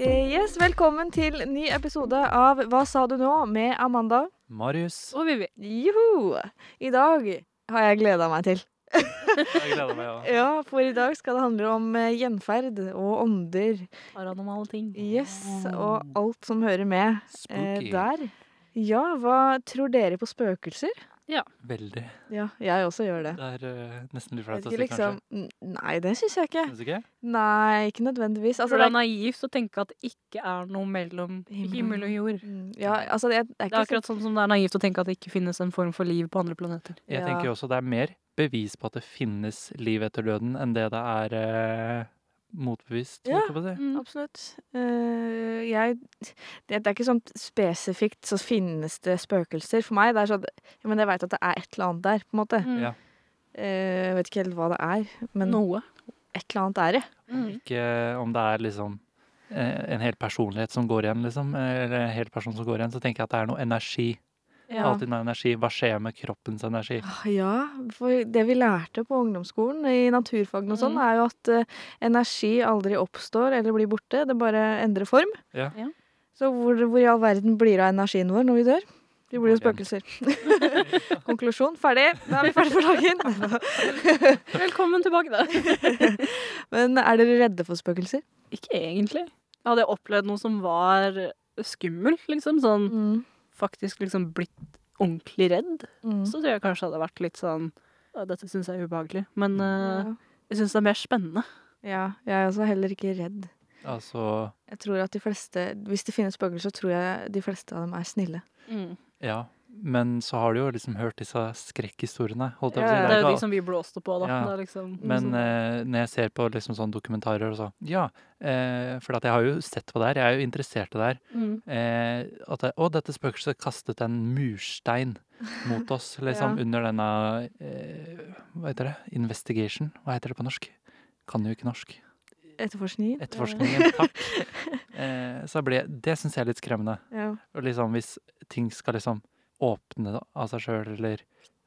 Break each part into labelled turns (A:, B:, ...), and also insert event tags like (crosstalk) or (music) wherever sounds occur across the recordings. A: Eh, Yes, velkommen til ny episode av Hva sa du nå? med Amanda.
B: Marius.
C: Og Vivi.
A: Juhu! I dag har jeg gleda meg til.
B: Jeg gleder meg. (laughs) Ja.
A: Ja, for i dag skal det handle om eh, gjenferd og ånder.
C: Paranormale ting.
A: Yes,
C: Ah.
A: og alt som hører med eh,
B: Spooky.
A: der. Ja, hva tror dere på spøkelser?
B: Veldig.
A: Ja, jeg også gjør det.
B: Det er eh, nesten litt
A: Vet
B: flaut å si,
A: ikke, liksom, n- nei, det syns jeg ikke.
B: kanskje. Synes ikke?
A: Nei, ikke nødvendigvis.
C: Altså,
A: Altså,
C: det
A: det
C: er naivt å tenke at det ikke er noe mellom
A: Himmel.
C: himmel og jord.
A: er, mm, ja, altså, det er, det er
C: Det er
A: ikke
C: akkurat sånn som det er naivt å tenke at det ikke finnes en form for liv på andre planeter.
B: Jeg
A: Ja.
B: tenker jo også det er mer bevis på at det finnes liv etter døden, enn det det er eh, motbevist.
A: Ja.
B: holdt jeg på å si.
C: Mm.
A: Absolutt. Eh, jeg, det, det er ikke sånn spesifikt så finnes det spøkelser. For meg det er sånn ja, Men jeg veit at det er et eller annet der, på en måte.
C: Mm.
B: Ja.
A: Eh, jeg vet ikke helt hva det er, men
C: Noe. Mm.
A: et eller annet er det.
B: Ikke om det er liksom eh, en hel personlighet som går igjen, liksom, eller en hel person som går igjen, så tenker jeg at det er noe energi.
A: Ja.
B: Alltid noe energi. Hva skjer med kroppens energi?
A: Ah, Ja, for det vi lærte på ungdomsskolen i naturfagene og sånn,
C: Mhm.
A: er jo at eh, energi aldri oppstår eller blir borte, det bare endrer form.
B: Ja.
C: Ja.
A: Så hvor, hvor i all verden blir det av energien vår når vi dør? Vi blir jo
B: Hvor den-
A: spøkelser. (laughs) Konklusjon ferdig. Da er vi ferdige for
C: (laughs)
A: dagen.
C: (laughs) Velkommen tilbake, da.
A: (laughs) Men er dere redde for spøkelser?
C: (laughs) Ikke egentlig. Hadde jeg opplevd noe som var skummelt, liksom, sånn
A: Mm.
C: faktisk liksom blitt ordentlig redd,
A: Mm.
C: så tror jeg kanskje det hadde vært litt sånn «Å, Dette syns jeg er ubehagelig, men eh,
A: Ja.
C: jeg syns det er mer spennende.
A: ja, jeg er også heller ikke redd.
B: Altså
A: Jeg tror at de fleste, Hvis det finnes spøkelser, så tror jeg de fleste av dem er snille.
C: Mm.
B: Ja. Men så har du jo liksom hørt disse skrekkhistoriene, holdt jeg på å
A: Ja,
B: si.
A: ja.
C: Det er
B: ikke
C: jo
B: alt-
C: de som vi blåste på, da.
B: sånn Ja.
C: Det er liksom
B: Men
A: sånn.
B: eh, når jeg ser på liksom sånne dokumentarer og så, ja, eh, for at jeg har jo sett på det her, jeg er jo interessert i det her,
C: Mm.
B: eh, at det, å, dette spøkelset kastet en murstein mot
A: (laughs)
B: oss, liksom,
A: Ja.
B: under denne, eh, hva heter det, investigation, hva heter det på norsk? Kan jo ikke norsk.
A: Etterforskningen.
B: Etterforskningen, takk.
A: (laughs)
B: Eh, så ble, det synes jeg er litt skremmende.
A: Ja.
B: Og liksom, hvis ting skal liksom åpne av seg selv, eller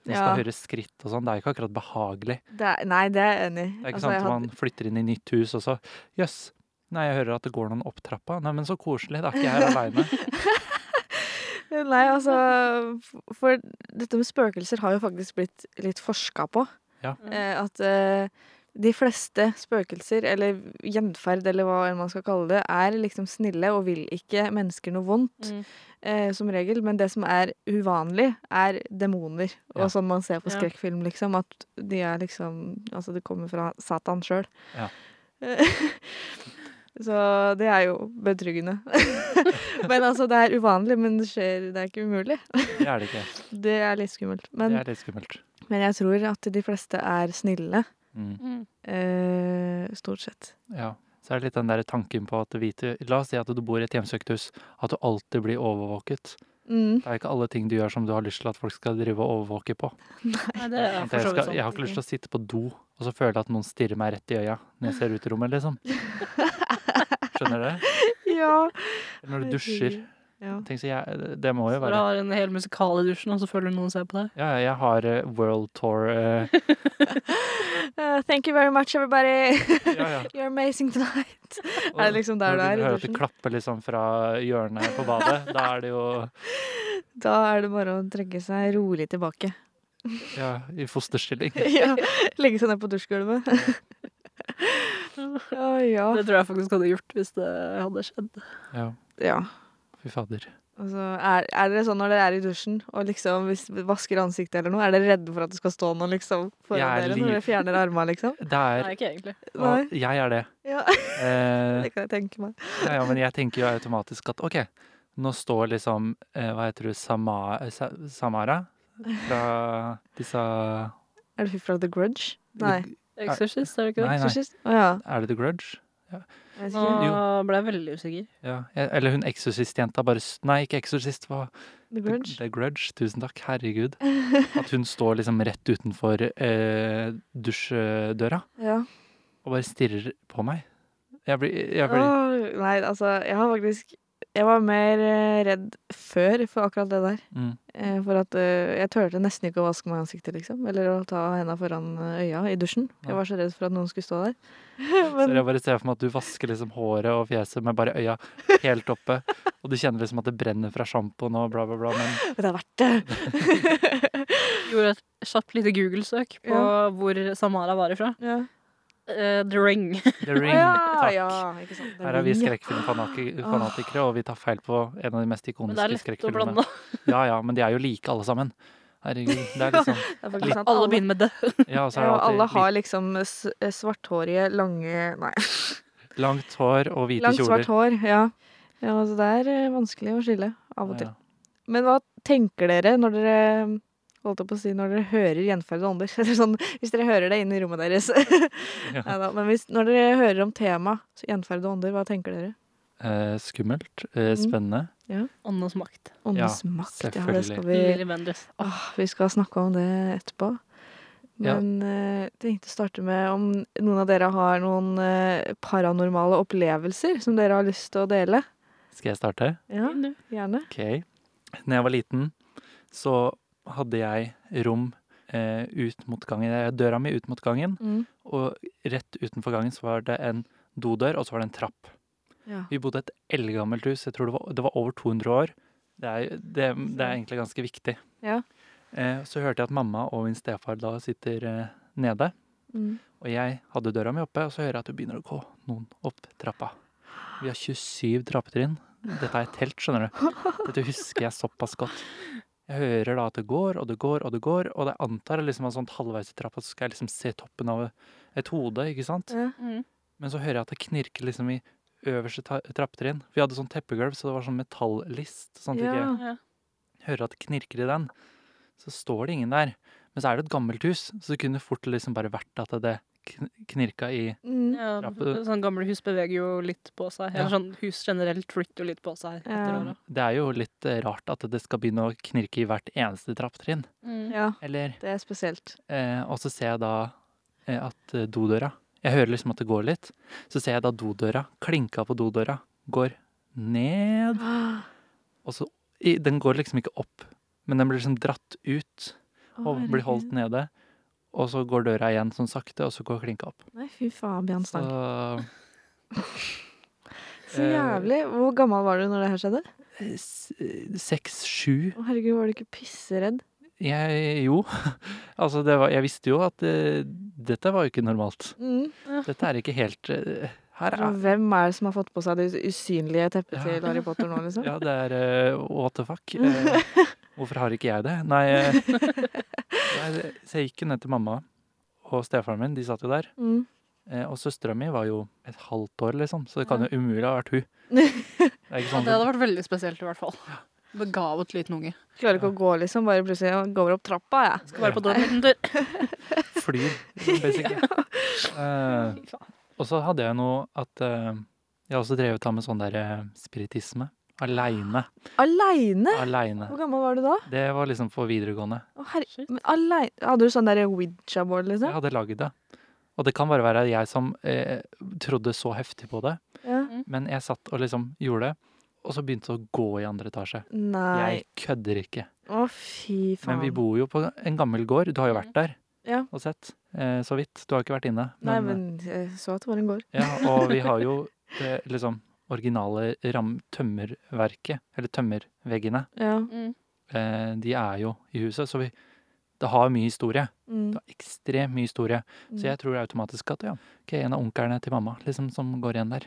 B: man
A: Ja.
B: skal høre skritt og sånn, det er jo ikke akkurat behagelig.
A: Det er, nei, det er jeg enig i.
B: Det er ikke
A: Altså, jeg
B: sant
A: hadde-
B: at man flytter inn i nytt hus, og så Jøss. Nei, jeg hører at det går noen opp trappa. Nei, men så koselig. Da er ikke jeg her aleine.
A: (laughs) Nei, altså f- For dette med spøkelser har jo faktisk blitt litt forska på.
B: Ja.
C: Mm.
A: Eh, at eh, de fleste spøkelser, eller gjenferd, eller hva enn man skal kalle det, er liksom snille og vil ikke mennesker noe vondt,
C: Mm.
A: eh, som regel. Men det som er uvanlig, er demoner.
B: Ja.
A: Og som man ser på
C: Ja.
A: skrekkfilm, liksom. At de er liksom Altså, det kommer fra Satan sjøl.
B: Ja.
A: (laughs) Så det er jo betryggende. (laughs) men altså, det er uvanlig, men det skjer Det er ikke umulig.
B: Det er det ikke.
A: Det er litt skummelt. Men,
B: Det er litt skummelt.
A: men jeg tror at de fleste er snille.
B: Mm,
A: Eh, stort sett.
B: ja. Så er det litt den der tanken på at hvite La oss si at du bor i et hjemsøkt hus. At du alltid blir overvåket.
A: Mm.
B: Det er ikke alle ting du gjør som du har lyst til at folk skal drive og overvåke på.
C: Nei, det er
B: At
C: for
B: Jeg,
C: så vidt sånn.
B: skal, jeg
C: sant.
B: har ikke lyst til å sitte på do og så føle at noen stirrer meg rett i øya når jeg ser ut i rommet, liksom. Skjønner du?
A: (laughs) Ja.
B: Eller når du dusjer.
A: Ja.
B: Tenk så jeg, det må jo
C: Når du
B: være
C: har en hel musikal i dusjen, og så føler noen ser på deg.
B: Ja, jeg har eh, World Tour eh,
A: Eh, thank you very much, everybody.
B: ja, ja.
A: (laughs) You're amazing tonight. (laughs) Er det liksom der
B: Når
A: du er i
B: hører at
A: dusjen?
B: det klapper liksom fra hjørnet
A: (laughs)
B: på badet, da er det jo
A: Da er det bare å trekke seg rolig tilbake.
B: ja, i fosterstilling.
A: (laughs) ja. Legge seg ned på dusjgulvet. (laughs) Å ja.
C: Det tror jeg faktisk hadde gjort hvis det hadde skjedd.
B: Ja,
A: ja.
B: fy fader.
A: Altså, er, er dere sånn når dere er i dusjen og liksom hvis vasker ansiktet eller noe? Er dere redde for at det skal stå noe liksom foran
B: Jeg er
A: dere når
B: liv-
A: dere fjerner armene, liksom?
B: Det er
C: ikke egentlig.
A: Nei.
B: og Jeg er det.
A: Ja,
B: Eh,
A: (laughs) det kan jeg tenke meg.
B: ja, ja, men jeg tenker jo automatisk at OK, nå står liksom eh, Hva heter du, Sama, eh, Sa, Samara? Fra disse
A: Er det fra The Grudge? Nei.
C: Exorcist, er det ikke det?
B: Nei, nei.
A: Exorcist? Å ja.
B: Er det The Grudge?
A: Jeg vet
C: Nå
A: ikke.
C: ble jeg veldig usikker.
B: Ja. eh, Eller hun eksorsistjenta bare s- Nei, ikke eksorsist. Hva?
A: The Grudge?
B: The Grudge, tusen takk.
A: (laughs)
B: Herregud. At hun står liksom rett utenfor eh, dusjdøra
A: Ja.
B: og bare stirrer på meg. Jeg blir, jeg blir
A: Åh, nei, altså, jeg har faktisk Jeg var mer eh, redd før for akkurat det der.
B: Mm.
A: Eh, For at eh, jeg turte nesten ikke å vaske meg i ansiktet, liksom. Eller å ta henda foran eh, øya i dusjen.
B: Ja.
A: Jeg var så redd for at noen skulle stå
B: (laughs)
A: der.
B: Så jeg bare ser for meg at du vasker liksom håret og fjeset med bare øya helt oppe, og du kjenner liksom at det brenner fra sjampoen og bla, bla, bla. Men
A: Men det er verdt det!
C: Gjorde et kjapt lite Google-søk på hvor Samara var ifra.
A: ja.
C: Eh, The Ring.
B: the ring,
A: Ah, ja,
B: takk.
A: ja, ikke sant.
B: Her er vi
A: Ring, Ah. ja.
B: skrekkfilmfanatikere, og vi tar feil på en av de mest
C: Men det er
B: ikoniske
C: lett å
B: skrekkfilmene.
C: blande.
B: Ja, ja, men de er jo like alle sammen. Herregud. Det er liksom
A: Det er faktisk sant.
C: Alle begynner med det.
B: Ja, og så
A: (laughs)
B: er
A: ja,
B: det
A: og alle
B: alltid
A: har liksom s- eh, svarthårige, lange Nei,
B: litt langt hår og hvite
A: langt svart
B: kjoler.
A: hår. Ja. ja, så det er eh, vanskelig å skille av og til.
B: Ja, ja.
A: Men hva tenker dere når dere holdt jeg på å si, når dere hører gjenferd og ånder? (laughs) Eller sånn, hvis dere hører det inn i rommet
B: (laughs)
A: deres. Neida, men hvis, når dere hører om temaet gjenferd og ånder, hva tenker dere?
B: Eh, skummelt. Eh,
A: Mm.
B: spennende.
C: Åndenes makt.
A: Åndens
B: Ja,
A: makt, ja. Det
B: selvfølgelig.
A: skal vi,
C: Lilly Bendriss.
A: åh, vi skal snakke om det etterpå.
B: Ja.
A: Men eh, jeg tenkte å starte med om noen av dere har noen eh, paranormale opplevelser som dere har lyst til å dele.
B: Skal jeg starte?
A: Ja, gjerne.
B: Ok. Når jeg var liten, så hadde jeg rom eh, ut mot gangen. Eh, Døra mi ut mot gangen,
A: Mm.
B: og rett utenfor gangen så var det en dodør, og så var det en trapp.
A: Ja.
B: Vi bodde i et eldgammelt hus. Jeg tror det var, det var over 200 år. Det er, det, det er egentlig ganske viktig.
A: Ja.
B: Eh, så hørte jeg at mamma og min stefar da sitter eh, nede.
A: Mm.
B: Og jeg hadde døra mi oppe, og så hører jeg at det begynner å gå noen opp trappa. Vi har 27 trappetrinn. Dette er et telt, skjønner du. Dette husker jeg såpass godt. Jeg hører da at det går, og det går, og det går, og jeg antar liksom at sånn halvveis i trappa så skal jeg liksom se toppen av et hode, ikke sant?
A: Ja.
C: Mm.
B: Men så hører jeg at det knirker liksom i øverste ta- trappetrinn. Vi hadde sånn teppegulv, så det var sånn metallist, sånn at jeg ikke
A: Ja.
C: Ja.
B: hører at det knirker i den, så står det ingen der. Men så er det et gammelt hus, så det kunne fort liksom bare vært at det kn- knirka i
A: Mm.
C: Ja,
B: Trappe-
C: sånn gamle hus beveger jo litt på seg.
B: Ja.
C: Eller sånn hus generelt flytter jo litt på seg etter
A: Ja.
C: åra.
B: Det er jo litt eh, rart at det skal begynne å knirke i hvert eneste trappetrinn.
C: Mm.
A: ja,
B: Eller
A: det er
B: (gasps)
A: spesielt.
B: eh, Og så ser jeg da eh, at eh, dodøra Jeg hører liksom at det går litt. Så ser jeg da dodøra, klinka på dodøra, går ned.
A: Ah.
B: Og så i, Den går liksom ikke opp, men den blir liksom dratt ut og blir holdt nede. Og så går døra igjen sånn sakte, og så går klinka opp.
A: Nei, fy faen, Bjørn
B: Så
A: Stang. (laughs) Så
B: eh,
A: jævlig. Hvor gammel var du når det her skjedde?
B: eh, s- eh, seks, sju
A: Å herregud, var du ikke pisseredd?
B: Jeg, jo. (laughs) Altså, det var, jeg visste jo at eh, dette var jo ikke normalt.
A: Mm.
B: Dette er ikke helt eh, Her er
A: Hvem er det som har fått på seg det usynlige teppet
B: Ja.
A: til Harry Potter nå, liksom?
B: (laughs) Ja, det er eh, What the fuck? Eh,
C: (laughs)
B: hvorfor har ikke jeg det? Nei, eh, nei det- Så jeg gikk jo ned til mamma og stefaren min, de satt jo der.
A: Mm.
B: Eh, og søstera mi var jo et halvt år, liksom, så det kan jo umulig ha vært
C: (laughs)
B: hun. Det er ikke
C: Ja,
B: sånn
C: det hadde vært veldig spesielt i hvert fall. Begavet liten unge.
A: Klarer ikke å gå, liksom. Bare plutselig «Jeg går opp trappa, jeg.
C: Skal være på døren liten tur.
B: flyr,
A: (laughs)
B: basically. Eh, og så hadde jeg noe at eh, Jeg har også drevet da med sånn der eh, spiritisme.
A: (gasps)
B: Aleine.
A: Aleine!
B: Aleine.
A: Hvor gammel var du da?
B: Det var liksom for videregående.
A: Å, herre...
C: Shit.
A: Men aleine Hadde du sånn der Ouija-board,
B: Jeg
A: liksom?
B: hadde laget det. Og det kan bare være jeg som eh, trodde så heftig på det.
A: Ja.
B: Men jeg satt og liksom gjorde det, og så begynte det å gå i andre etasje.
A: Nei.
B: Jeg kødder ikke.
A: Å, fy faen. Mm.
B: Men vi bor jo på en gammel gård. Du har jo vært der
A: Ja.
B: og sett. Eh, så vidt. Du har ikke vært inne.
A: Nei, men
B: eh,
A: jeg så at det var en gård.
B: Ja, og vi har jo det liksom originale ram tømmerverket, eller tømmerveggene.
A: Ja.
C: Mm.
B: Eh, de er jo i huset, så vi det har mye historie.
A: Mm.
B: Det har ekstremt mye historie. Så jeg tror automatisk at ja, ok, en av onklene til mamma liksom, som går igjen der.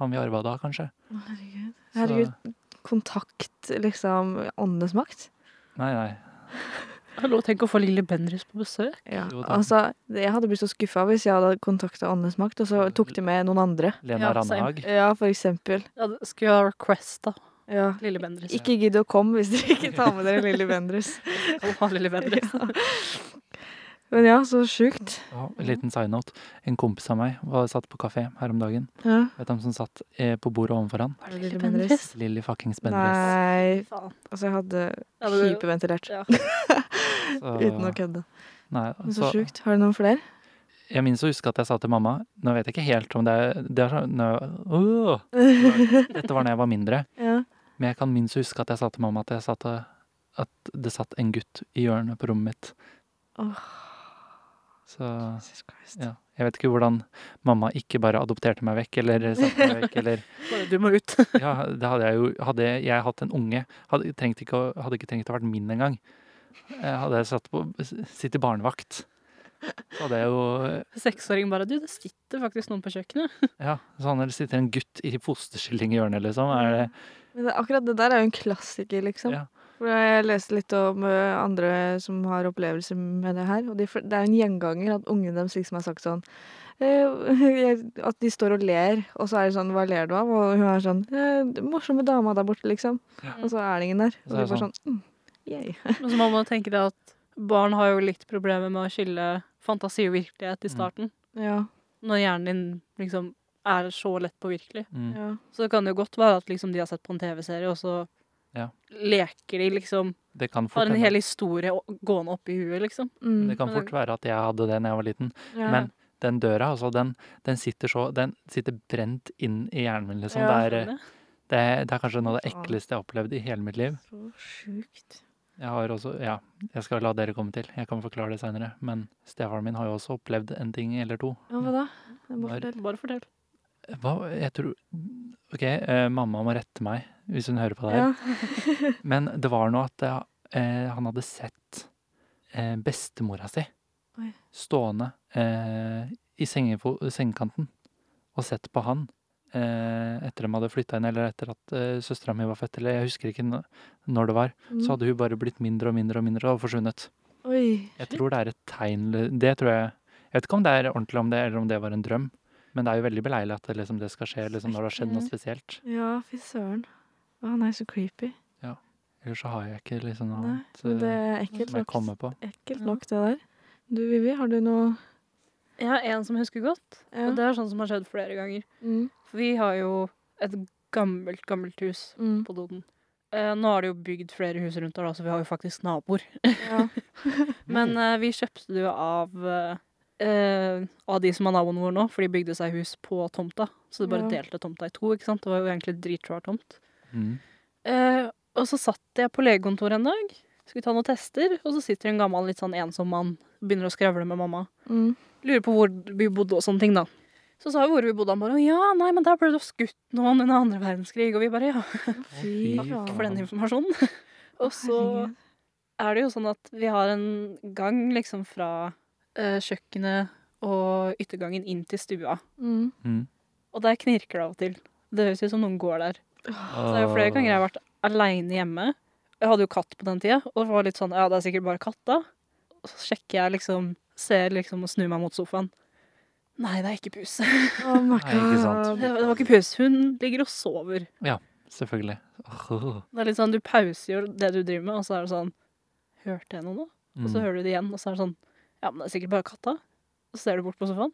B: Han vi arva da, kanskje.
A: Å, herregud.
B: Så-
A: Herregud. Kontakt, liksom. Åndenes makt.
B: Nei, nei.
C: Hallo, tenk å få Lille Bendriss på besøk.
A: Ja,
B: Jo da.
A: altså, det- jeg hadde blitt så skuffa hvis jeg hadde kontakta Åndenes makt, og så tok de med noen andre.
B: Lena
C: Ja, same.
B: Randhag.
A: Ja, for eksempel.
C: Ja, det- skulle jeg ha requesta
A: Ja.
C: Lille Bendriss?
A: Ikke gidd å komme hvis dere ikke tar med dere Lilly Bendriss.
C: Skal ha Lille (laughs) Bendriss.
A: Men ja, så sjukt.
B: Ja, en liten side-note. En kompis av meg var satt på kafé her om dagen.
A: Ja.
B: Vet du hvem som satt eh, på bordet ovenfor han?
A: det Lille Bendriss?
B: Lilly fuckings Bendriss.
A: Nei,
C: Faen.
A: altså jeg hadde
C: Ja, det-
A: hyperventilert
C: Ja.
B: Så-
A: uten å kødde.
B: Nei,
A: Men så
B: så-
A: sjukt. Har du noen flere?
B: Jeg minnes å huske at jeg sa til mamma Nå vet jeg ikke helt om det er, det er sånn nå- Åh! Dette var da jeg var mindre.
A: Ja.
B: Men jeg kan minst huske at jeg sa til mamma at, jeg sa til, at det satt en gutt i hjørnet på rommet mitt. Så
A: Jesus Christ.
B: ja. jeg vet ikke hvordan mamma ikke bare adopterte meg vekk, eller satte meg vekk, eller
C: (laughs) Bare du må ut.
B: Ja, det hadde jeg jo Hadde jeg hatt en unge, hadde, trengt ikke, å- hadde ikke trengt å vært min engang. Jeg Hadde jeg satt på Sitt i barnevakt. Så hadde jeg jo
C: (laughs) Seksåring bare Du, det sitter faktisk noen på kjøkkenet.
B: Ja, sånn eller sitter en gutt i fosterskilling i hjørnet, liksom. Er det
A: Men det, akkurat det der er jo en klassiker, liksom.
B: Ja.
A: For jeg leste litt om ø, andre som har opplevelser med det her. Og de, fl- det er jo en gjenganger at ungen deres liksom har sagt sånn eh, (laughs) jeg- At de står og ler, og så er det sånn Hva ler du av? Og hun er sånn eh, det Morsomme dama der borte, liksom.
B: Ja.
A: Og så er det ingen der. Og de
B: Så er det
A: bare sånn mm, Yay.
C: Og så må man tenke det at barn har jo litt problemer med å skille fantasi og virkelighet i starten.
A: Ja.
C: Når hjernen din liksom er så lett påvirkelig.
B: mm.
A: ja.
C: Så det kan jo godt være at liksom de har sett på en TV-serie, og så
B: Ja.
C: leker de liksom
B: Det kan fort
C: Har en
B: hende.
C: hel historie å- gående oppi huet, liksom.
A: Mm.
B: Det kan fort være at jeg hadde det da jeg var liten.
A: ja.
B: Men den døra, altså, den, den sitter så Den sitter brent inn i hjernen min, liksom.
A: Ja.
B: det, er, det, er- det er kanskje noe av det
A: Faen.
B: ekleste jeg har opplevd i hele mitt liv.
A: Så sjukt.
B: Jeg har også Ja, jeg skal la dere komme til. Jeg kan forklare det seinere. Men stefaren min har jo også opplevd en ting eller to.
A: Ja, hva da? Det er
B: Bare-
A: bare
C: Bare fortell.
B: Hva Jeg tror OK, eh, mamma må rette meg hvis hun hører på det her.
A: Ja.
B: Men det var noe at jeg, eh, han hadde sett eh, bestemora si
A: Oi.
B: stående eh, i sengefo sengekanten og sett på han eh, etter de hadde flytta inn, eller etter at eh, søstera mi var født, eller jeg husker ikke nå- når det var.
A: Mm.
B: Så hadde hun bare blitt mindre og mindre og mindre og forsvunnet.
A: Oi.
B: Jeg tror det er et tegn eller- Det tror jeg Jeg vet ikke om det er ordentlig om det, eller om det var en drøm. Men det er jo veldig beleilig at det, liksom, det skal skje liksom, når det har skjedd noe spesielt.
A: Ja, fy søren. Å, han er så creepy.
B: Ellers så har jeg ikke liksom, noe
A: Nei,
B: annet
A: men det
B: eh,
A: er ekkelt
B: som jeg
A: nok.
B: kommer på.
A: Ekkelt
C: Ja.
A: nok, det der. Du, Vivi, har du noe
C: Jeg har en som jeg husker godt,
A: Ja.
C: og det er sånn som har skjedd flere ganger.
A: Mm.
C: For vi har jo et gammelt, gammelt hus
A: Mm.
C: på Doden. Eh, nå er det jo bygd flere hus rundt der, da, så vi har jo faktisk naboer.
A: Ja. Mm.
C: Men eh, vi kjøpte det jo av eh, eh, av de som er naboene våre nå, for de bygde seg hus på tomta. Så de bare
A: Ja.
C: delte tomta i to. ikke sant? Det var jo egentlig dritsvær tomt.
B: Mm.
C: Eh, og så satt jeg på legekontoret en dag, skulle ta noen tester, og så sitter en gammel, litt sånn ensom mann og begynner å skrevle med mamma.
A: Mm.
C: Lurer på hvor vi bodde og sånne ting, da. Så sa vi hvor vi bodde, han bare å ja, nei, men der ble det skutt noen under andre verdenskrig. Og vi bare ja,
A: Fy
B: Å, fy
A: faen.
C: takk
B: faen.
C: for den informasjonen. og så
A: Herregud.
C: er det jo sånn at vi har en gang liksom fra eh, kjøkkenet og yttergangen inn til stua.
A: mm.
B: Mm.
C: Og der knirker det av og til. Det høres ut som noen går der. Så det er jo flere ganger jeg har vært aleine hjemme. Jeg hadde jo katt på den tida, og var litt sånn ja, det er sikkert bare katt, da. Og så sjekker jeg liksom, ser liksom og snur meg mot sofaen. Nei, det er ikke pus. Det
A: Oh my
B: Nei, ikke sant.
A: god.
C: var, det var ikke pus. Hun ligger og sover.
B: Selvfølgelig. Åh.
C: Det er litt sånn, Du pauser jo det du driver med, og så er det sånn Hørte jeg noe nå? Og så
B: Mm.
C: hører du det igjen, og så er det sånn Ja, men det er sikkert bare katta. Og så ser du bort på sofaen.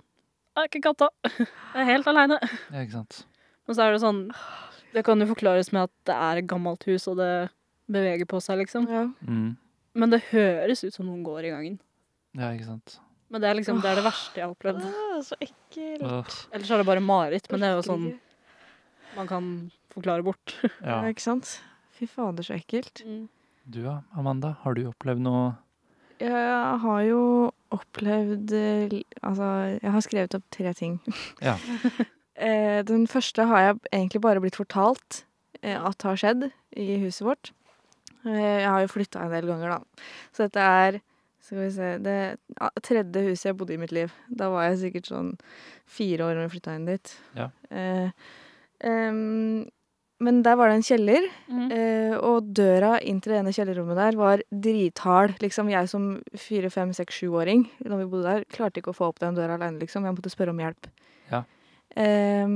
C: Det er ikke katta. (laughs) Jeg er helt aleine.
B: Ja, ikke sant.
C: Og så er det sånn Det kan jo forklares med at det er et gammelt hus, og det beveger på seg, liksom.
A: Ja.
B: Mm.
C: Men det høres ut som noen går i gangen.
B: Ja, ikke sant.
C: Men det er liksom det, er det verste jeg har opplevd.
A: Ah, så ekkelt.
B: Åh.
C: Ellers er det bare mareritt, men det er jo
A: Orker
C: sånn
A: ikke.
C: man kan forklare bort.
A: ja.
B: Ja.
A: Ikke sant? Fy fader, så ekkelt.
C: Mm.
B: Du ja, Amanda. Har du opplevd noe
A: Jeg har jo opplevd eh, l- Altså, jeg har skrevet opp tre ting.
B: Ja.
A: (laughs) Eh, Den første har jeg egentlig bare blitt fortalt eh, at har skjedd i huset vårt. Eh, Jeg har jo flytta en del ganger, da. Så dette er skal vi se, det ja, tredje huset jeg bodde i mitt liv. Da var jeg sikkert sånn fire år da jeg flytta inn dit.
B: Ja.
A: Eh, em, men der var det en kjeller.
C: Mm.
A: Eh, og døra inn til det ene kjellerrommet der var drithard. Liksom jeg som fire, fem, seks, sjuåring når vi bodde der, klarte ikke å få opp den døra alene, liksom. Jeg måtte spørre om hjelp.
B: Ja.
A: Eh,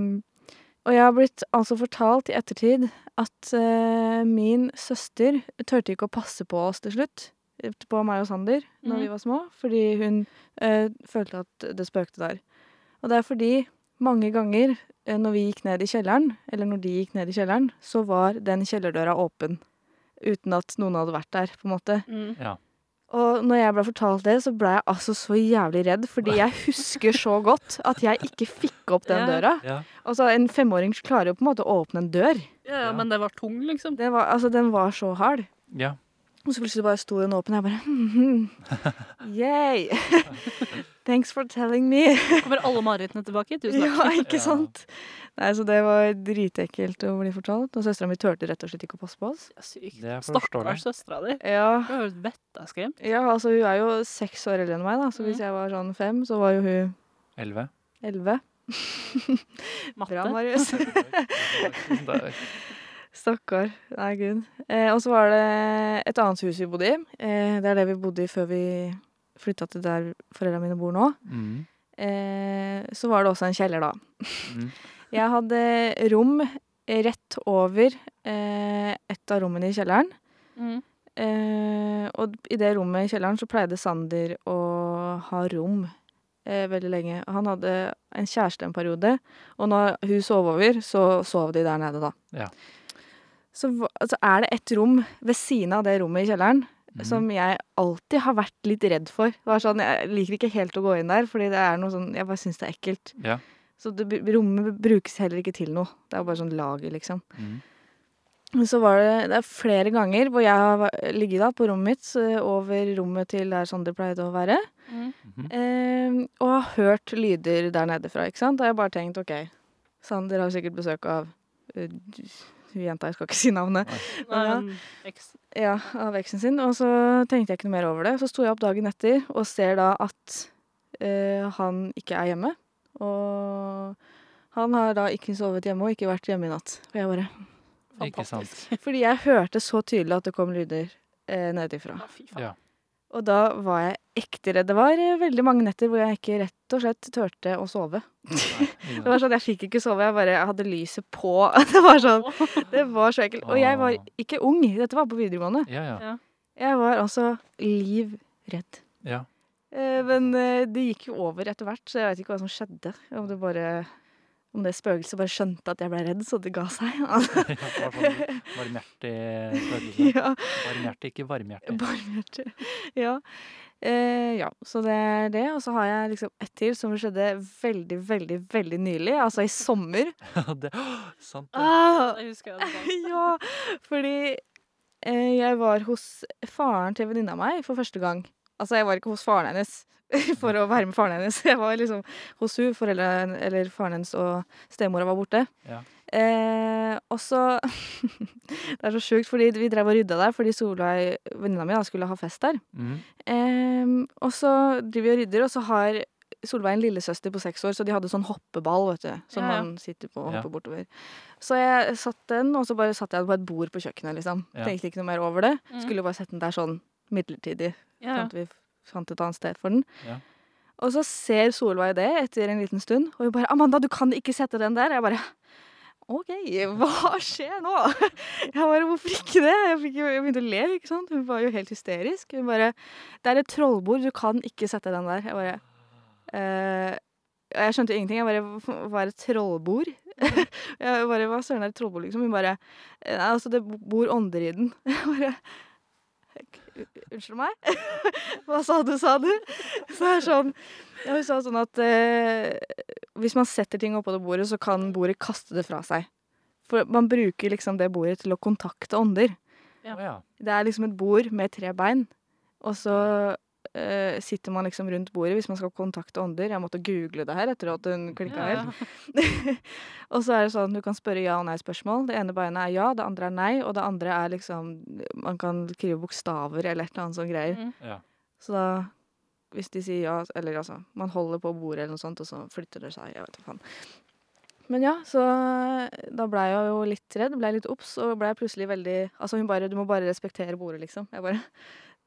A: og jeg har blitt altså fortalt i ettertid at eh, min søster turte ikke å passe på oss til slutt. eh, På meg og Sander når
C: Mhm.
A: vi var små, fordi hun eh, følte at det spøkte der. Og det er fordi mange ganger eh, når vi gikk ned i kjelleren, eller når de gikk ned i kjelleren, så var den kjellerdøra åpen. Uten at noen hadde vært der, på en måte.
C: Mm.
A: Og når jeg ble fortalt det, så ble jeg altså så jævlig redd, fordi jeg husker så godt at jeg ikke fikk opp den
C: Ja.
A: døra.
B: Ja.
A: Altså, En femåring klarer jo på en måte å åpne en dør.
C: Ja,
B: Ja.
C: men det var tung, liksom.
A: Den var, altså, den var så hard.
B: ja.
A: Og så plutselig bare sto den åpen, og jeg bare (laughs) hmm, Yay! (laughs) Thanks for telling me.
C: Kommer alle marerittene tilbake? Tusen takk.
A: (laughs) Ja,
C: (laughs)
A: ikke
B: Ja.
A: sant? Nei, Så det var dritekkelt å bli fortalt. Og søstera mi turte rett og slett ikke å passe på oss.
C: Ja, sykt.
B: Det er forståelig.
C: Stakkars søstera di.
A: Ja,
C: Hun er jo vettaskremt.
A: ja altså hun er jo seks år eldre enn meg, da. Så hvis
C: Mhm.
A: jeg var sånn fem, så var jo hun
B: (laughs) Elleve.
A: elleve. Bra,
C: Matte.
A: (laughs) Marius.
B: Tusen takk.
A: Stakkar. Nei, gud. Eh, og så var det et annet hus vi bodde i. Eh, det er det vi bodde i før vi flytta til der foreldrene mine bor nå.
B: Mm.
A: Eh, så var det også en kjeller, da.
B: Mm.
A: Jeg hadde rom rett over eh, et av rommene i kjelleren.
C: Mm.
A: Eh, og i det rommet i kjelleren så pleide Sander å ha rom eh, veldig lenge. Han hadde en kjæreste en periode, og når hun sov over, så sov de der nede, da.
B: Ja.
A: Så hva- altså, er det et rom ved siden av det rommet i kjelleren
B: Mhm.
A: som jeg alltid har vært litt redd for. Det var sånn, Jeg liker ikke helt å gå inn der, fordi det er noe sånn, jeg bare syns det er ekkelt.
B: Ja.
A: Så det, b- rommet brukes heller ikke til noe. Det er bare sånn lager, liksom.
B: Mm.
A: Men så var det, det er flere ganger hvor jeg har væ- ligget da på rommet mitt eh, over rommet til der Sander pleide å være,
C: Mm.
B: Mhm.
A: eh, og har hørt lyder der nede fra, ikke sant? Da har jeg bare tenkt, ok, Sander har sikkert besøk av eh, hun jenta, jeg skal ikke si navnet,
C: Nei,
A: Ja.
C: men eks-
A: ja, av eksen sin, og så tenkte jeg ikke noe mer over det. Så sto jeg opp dagen etter og ser da at eh, han ikke er hjemme, og han har da ikke sovet hjemme og ikke vært hjemme i natt. Og jeg bare,
B: Ikke sant.
C: (laughs)
A: Fordi jeg hørte så tydelig at det kom lyder eh, nedifra.
C: Å, fy faen.
B: Ja.
A: Og da var jeg ekte redd. Det var eh, veldig mange netter hvor jeg ikke rett og slett turte å sove. Det var sånn, Jeg fikk ikke sove, jeg bare jeg hadde lyset på. (laughs) Det var sånn, det var så ekkelt. Og jeg var ikke ung, dette var på videregående.
B: Ja, ja.
A: Jeg var altså livredd.
B: (laughs) ja.
A: Eh, men eh, det gikk jo over etter hvert, så jeg vet ikke hva som skjedde. Om det bare... Om det spøkelset bare skjønte at jeg ble redd, så det ga seg. (laughs)
B: Det var sånn varmhjertig følelse.
A: ja.
B: Varmhjertig, ikke
A: (laughs)
B: varmhjertig.
A: Barmhjerte. Ja. Eh, ja, så det er det. Og så har jeg liksom ett til som skjedde veldig, veldig veldig nylig. Altså i sommer.
B: (laughs) det, Åh, sant det.
A: Ah,
C: (laughs) Jeg husker det. da.
A: (laughs) ja, fordi eh, jeg var hos faren til venninna mi for første gang. Altså, jeg var ikke hos faren hennes (laughs) for å være med faren hennes. Jeg var liksom hos hun, foreldrene, eller faren hennes og stemora var borte.
B: Ja.
A: Eh, og så (laughs) Det er så sjukt, fordi vi drev og rydda der fordi Solveig, venninna mi, da, skulle ha fest der.
C: Ah!
B: Mm.
A: Ehm, og så driver vi og rydder, og så har Solveig en lillesøster på seks år, så de hadde sånn hoppeball, vet du, som
C: Ja, ja.
A: man sitter på og
B: Ja.
A: hopper bortover. Så jeg satt den, og så bare satt jeg den på et bord på kjøkkenet, liksom.
B: Ja.
A: Tenkte ikke noe mer over det.
C: Mm.
A: Skulle bare sette den der sånn midlertidig,
C: Ja, ja.
A: fant Sånn vi fant et annet sted for den.
B: Ja.
A: Og så ser Solveig det etter en liten stund, og hun bare 'Amanda, du kan ikke sette den der'. Jeg bare OK, hva skjer nå? (laughs) Jeg bare, Hvorfor ikke det? Jeg, fikk, jo- jeg begynte å le. ikke sant? Hun var jo helt hysterisk. Hun bare 'Det er et trollbord, du kan ikke sette den der'. Jeg bare eh, og Jeg skjønte jo ingenting. Jeg bare "Hva- Hva er et trollbord? (laughs) jeg bare, Hva søren er et trollbord, liksom? Hun bare Nei, altså, det bor ånder i den. (laughs) Jeg bare Unnskyld meg? Hva sa du, sa du? Så er det sånn ja, Hun sa sånn at eh, hvis man setter ting oppå det bordet, så kan bordet kaste det fra seg. For man bruker liksom det bordet til å kontakte ånder.
C: Ja.
B: Å, ja.
A: Det er liksom et bord med tre bein, og så eh, sitter man liksom rundt bordet hvis man skal kontakte ånder. Jeg måtte google det her etter at hun klikka
C: Ja,
A: helt.
C: ja.
A: Og så er det sånn, du kan spørre ja- og nei-spørsmål. Det ene beinet er ja, det andre er nei, og det andre er liksom Man kan skrive bokstaver eller et eller annet sånn greier.
C: Mm.
B: Ja.
A: Så da Hvis de sier ja, eller altså Man holder på bordet eller noe sånt, og så flytter det seg. Jeg vet hva faen. Men ja, så eh, da blei jeg jo litt redd, blei litt obs, og blei plutselig veldig Altså hun bare Du må bare respektere bordet, liksom. Jeg bare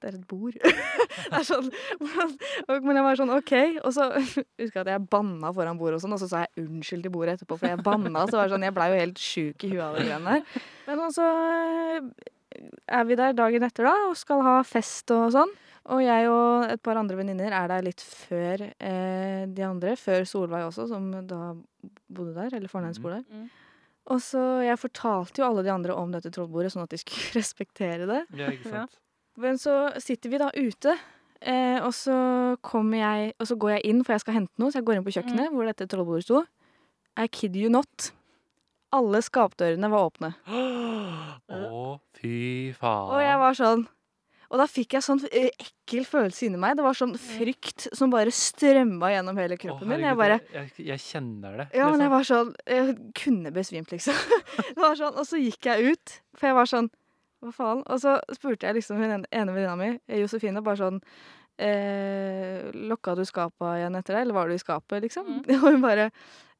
A: Det er et bord. (laughs) det er sånn hvordan- og, Men jeg var sånn OK. Og så (laughs) husker jeg at jeg banna foran bordet og sånn, og så sa jeg unnskyld til bordet etterpå, for jeg banna. Så var det sånn, jeg blei jo helt sjuk i huet av det greiene der. Men altså er vi der dagen etter da, og skal ha fest og sånn. Og jeg og et par andre venninner er der litt før eh, de andre. Før Solveig også, som da bodde der. Eller faren hennes bor der.
C: Mm.
A: Og så Jeg fortalte jo alle de andre om dette trollbordet, sånn at de skulle (laughs) respektere det.
B: ja, ikke sant.
A: Men så sitter vi da ute, eh, og, så kommer jeg, og så går jeg inn, for jeg skal hente noe. Så jeg går inn på kjøkkenet,
B: Mm.
A: hvor dette trollbordet sto. I kid you not. Alle skapdørene var åpne.
B: Å, fy faen.
A: Og jeg var sånn Og da fikk jeg sånn eh, ekkel følelse inni meg. Det var sånn frykt som bare strømma gjennom hele
B: Mm. Å,
A: kroppen min.
B: herregud,
A: Jeg bare
B: jeg, jeg kjenner det.
A: Ja, men jeg
B: liksom.
A: var sånn Jeg kunne besvimt, liksom. (laughs) Det var sånn, Og så gikk jeg ut, for jeg var sånn Hva faen? Og så spurte jeg liksom hun ene ene venninna mi, eh, Josefine, bare sånn eh, Lokka du skapa igjen etter deg, eller var du i skapet, liksom?
B: Mm.
A: (laughs) Og hun bare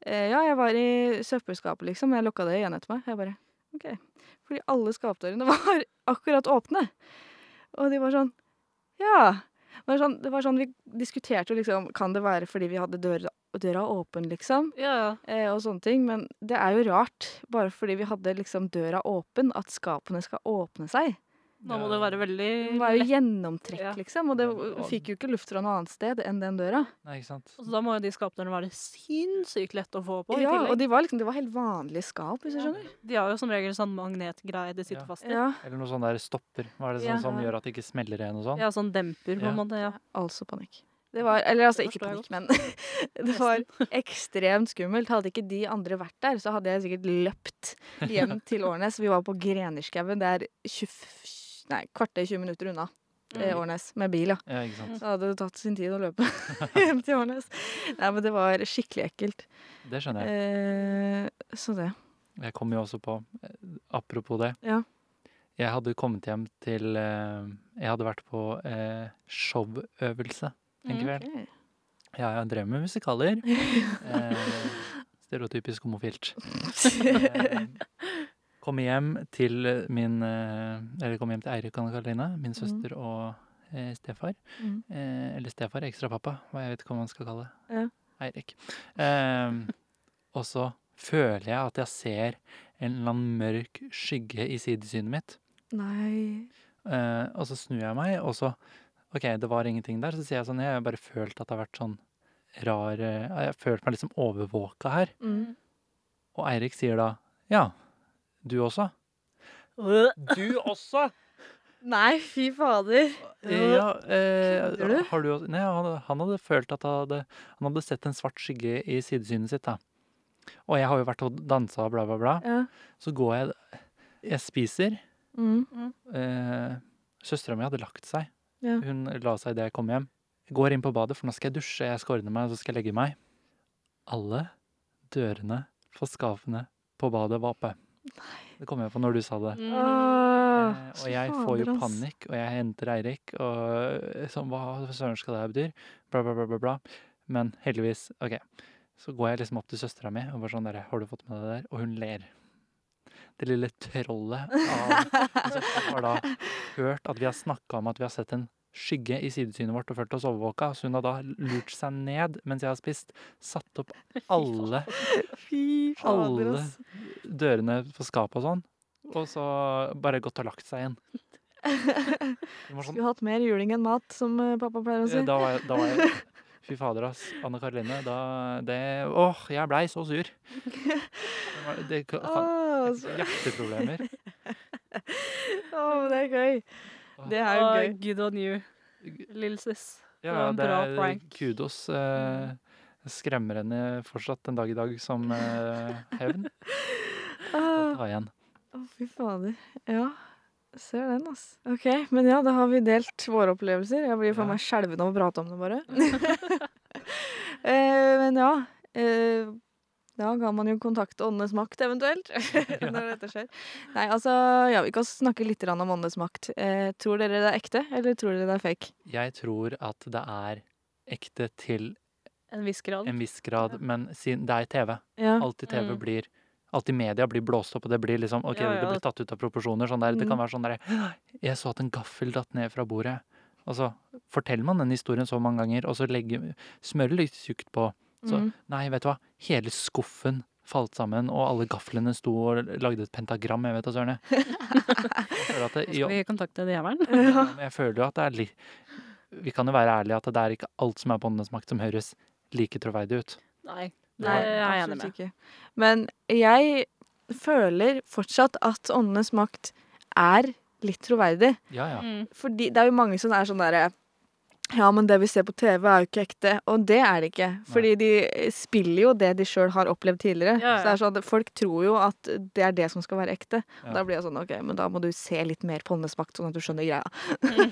A: eh, Ja, jeg var i søppelskapet, liksom, men jeg lokka det igjen etter meg. Jeg bare OK. Fordi alle skapdørene (laughs) var akkurat åpne. Og de var sånn Ja. Det var sånn, det var sånn Vi diskuterte jo liksom Kan det være fordi vi hadde døra, døra åpen, liksom?
C: Ja, ja.
A: eh, og sånne ting. Men det er jo rart, bare fordi vi hadde liksom døra åpen, at skapene skal åpne seg.
C: Nå må det være veldig
A: Det var jo
C: Mm, lett.
A: gjennomtrekk,
C: Ja.
A: liksom. Og det fikk jo ikke luft fra noe annet sted enn den døra.
B: Nei, ikke sant?
C: Så Altså, da må jo de skapdørene være sinnssykt lett å få på. i
A: Ja,
C: tillegg.
A: og de var liksom, det var helt vanlige skap, hvis du
C: Ja.
A: skjønner.
C: De har jo som regel sånn magnetgreie de sitter
B: Ja.
C: fast i.
A: Ja,
B: Eller noe sånn der stopper. Hva er det sånn,
C: Ja.
B: som gjør at det ikke smeller igjen og sånn?
C: Ja, sånn demper, på
B: Ja.
C: en måte. Ja.
A: altså panikk. Det var, eller altså,
C: Det
A: ikke
C: forstår jeg
A: panikk, men (laughs) det var
C: (laughs)
A: ekstremt skummelt. Hadde ikke de andre vært der, så hadde jeg sikkert løpt hjem
C: (laughs)
A: til Årnes. Vi var på Grenerskauen, det er 20, nei, kvarter 20 minutter unna eh,
C: Mm.
A: Årnes, med bil, ja.
B: Ja, ikke sant?
A: Så hadde det tatt sin tid å løpe (laughs) hjem til Årnes. Nei, men det var skikkelig ekkelt.
B: Det skjønner jeg.
A: Eh, så
B: (laughs)
A: det.
B: Jeg kom jo også på eh, Apropos det.
A: Ja.
B: Jeg hadde kommet hjem til eh, Jeg hadde vært på eh, showøvelse en
C: Mm,
B: kveld. Ja, jeg drev med musikaler.
A: (laughs)
B: Eh, stereotypisk homofilt. Eh, (laughs) Kom hjem til min eh, Eller kom hjem til Eirik og Anne Karoline, min søster og eh, stefar.
A: Mm.
B: Eh, eller stefar, ekstrapappa, hva jeg vet ikke hva man skal kalle det.
A: Ja.
B: Eirik. Eh, og så føler jeg at jeg ser en eller annen mørk skygge i sidesynet mitt.
A: Nei.
B: Eh, og så snur jeg meg, og så OK, det var ingenting der. Så sier jeg sånn Jeg har bare følt at det har vært sånn rar eh, Jeg har følt meg liksom overvåka her.
A: Mm.
B: Og Eirik sier da Ja, du også? Du også?
A: Nei, fy fader.
B: Ja, eh,
A: Kødder du?
B: har du også? Nei, han, han hadde følt at han hadde, han hadde sett en svart skygge i sidesynet sitt. da. Og jeg har jo vært og dansa og bla, bla, bla.
A: Ja.
B: Så går jeg Jeg spiser.
A: Mm.
B: Eh, Søstera mi hadde lagt seg.
A: Ja.
B: Hun la seg idet jeg kom hjem. Jeg går inn på badet, for nå skal jeg dusje, jeg skal ordne meg, så skal jeg legge meg. Alle dørene for skapene på badet var oppe. Det kom jeg på når du sa det.
C: Mm.
A: Åh,
B: Eh,
A: så
B: og jeg får
A: fader,
B: jo
A: ass.
B: panikk, og jeg henter Eirik, og sånn, hva søren skal det her bety? Bla, bla, bla, bla, bla. Men heldigvis, ok. Så går jeg liksom opp til søstera mi og bare sånn der, har du fått med deg det der? Og hun ler. Det lille trollet av altså, Hun har da hørt at vi har snakka om at vi har sett en skygge i sidesynet vårt og følt oss overvåka. Så hun har da lurt seg ned mens jeg har spist, satt opp alle
A: Fy fader,
B: alle
A: ass.
B: dørene på skapet og sånn. Og så bare gått og lagt seg igjen. Det var sånn,
A: Skulle hatt mer juling enn mat, som eh, pappa pleier å si.
B: da, var jeg, da var jeg Fy fader, ass. Anne Karoline, da det, Åh, jeg blei så sur. Det var- Det kan, kan-
A: Åh, så-
C: (laughs)
B: Hjerteproblemer.
A: åh, men det er gøy. Det er jo
C: Åh,
A: gøy.
C: good on you, little sis.
B: Ja,
C: Det
B: det
C: var en bra
B: er
C: prank.
B: kudos. Eh, skremmer henne fortsatt den dag i dag som eh,
C: (laughs)
B: hevn.
A: Åh,
B: Ta igjen.
A: åh, fy fader. Ja. Ser den, ass. Ok, men ja, da har vi delt våre opplevelser. Jeg blir for
B: Ja.
A: meg skjelven av å prate om det, bare.
C: (laughs)
A: (laughs) eh, men ja. Eh, da kan man jo kontakte Åndenes makt, eventuelt. (laughs) når dette skjer. Nei, altså, ja, vi kan snakke litt grann om Åndenes makt. Eh, tror dere det er ekte, eller tror dere det er fake?
B: Jeg tror at det er ekte til
C: En viss grad.
B: en viss grad, men siden det er TV.
A: Ja.
B: Alltid TV
C: Mm.
B: blir Alltid media blir blåst opp, og det blir liksom Ok,
C: Ja, ja.
B: det blir tatt ut av proporsjoner. Sånn der. Det kan
A: Mm.
B: være sånn der Jeg så at en gaffel datt ned fra bordet. Og så forteller man den historien så mange ganger, og så legger, smører litt tjukt på.
C: Altså.
B: Så
C: (laughs)
A: Mm. (laughs)
B: nei, vet du hva, hele skuffen falt sammen, og alle gaflene sto og lagde et pentagram. Jeg vet da søren, jeg. Jeg føler
C: (laughs)
B: at det-
C: Skal vi kontakte djevelen?
B: ja, men jeg føler jo at det er litt Vi kan jo være ærlige at det er ikke alt som er på åndenes makt som høres like troverdig ut.
C: Nei, det
B: Nei,
C: er jeg enig
A: absolutt
C: med.
A: Ikke. Men jeg føler fortsatt at åndenes makt er litt troverdig.
B: Ja, ja.
C: Mm.
A: Fordi det er jo mange som er sånn derre Ja, men det vi ser på TV, er jo ikke ekte. Og det er det ikke. Fordi de spiller jo det de sjøl har opplevd tidligere.
C: Ja, ja.
A: Så det er sånn at Folk tror jo at det er det som skal være ekte.
B: Ja.
A: Da blir jeg sånn OK, men da må du se litt mer på Åndenes makt, sånn at du skjønner greia.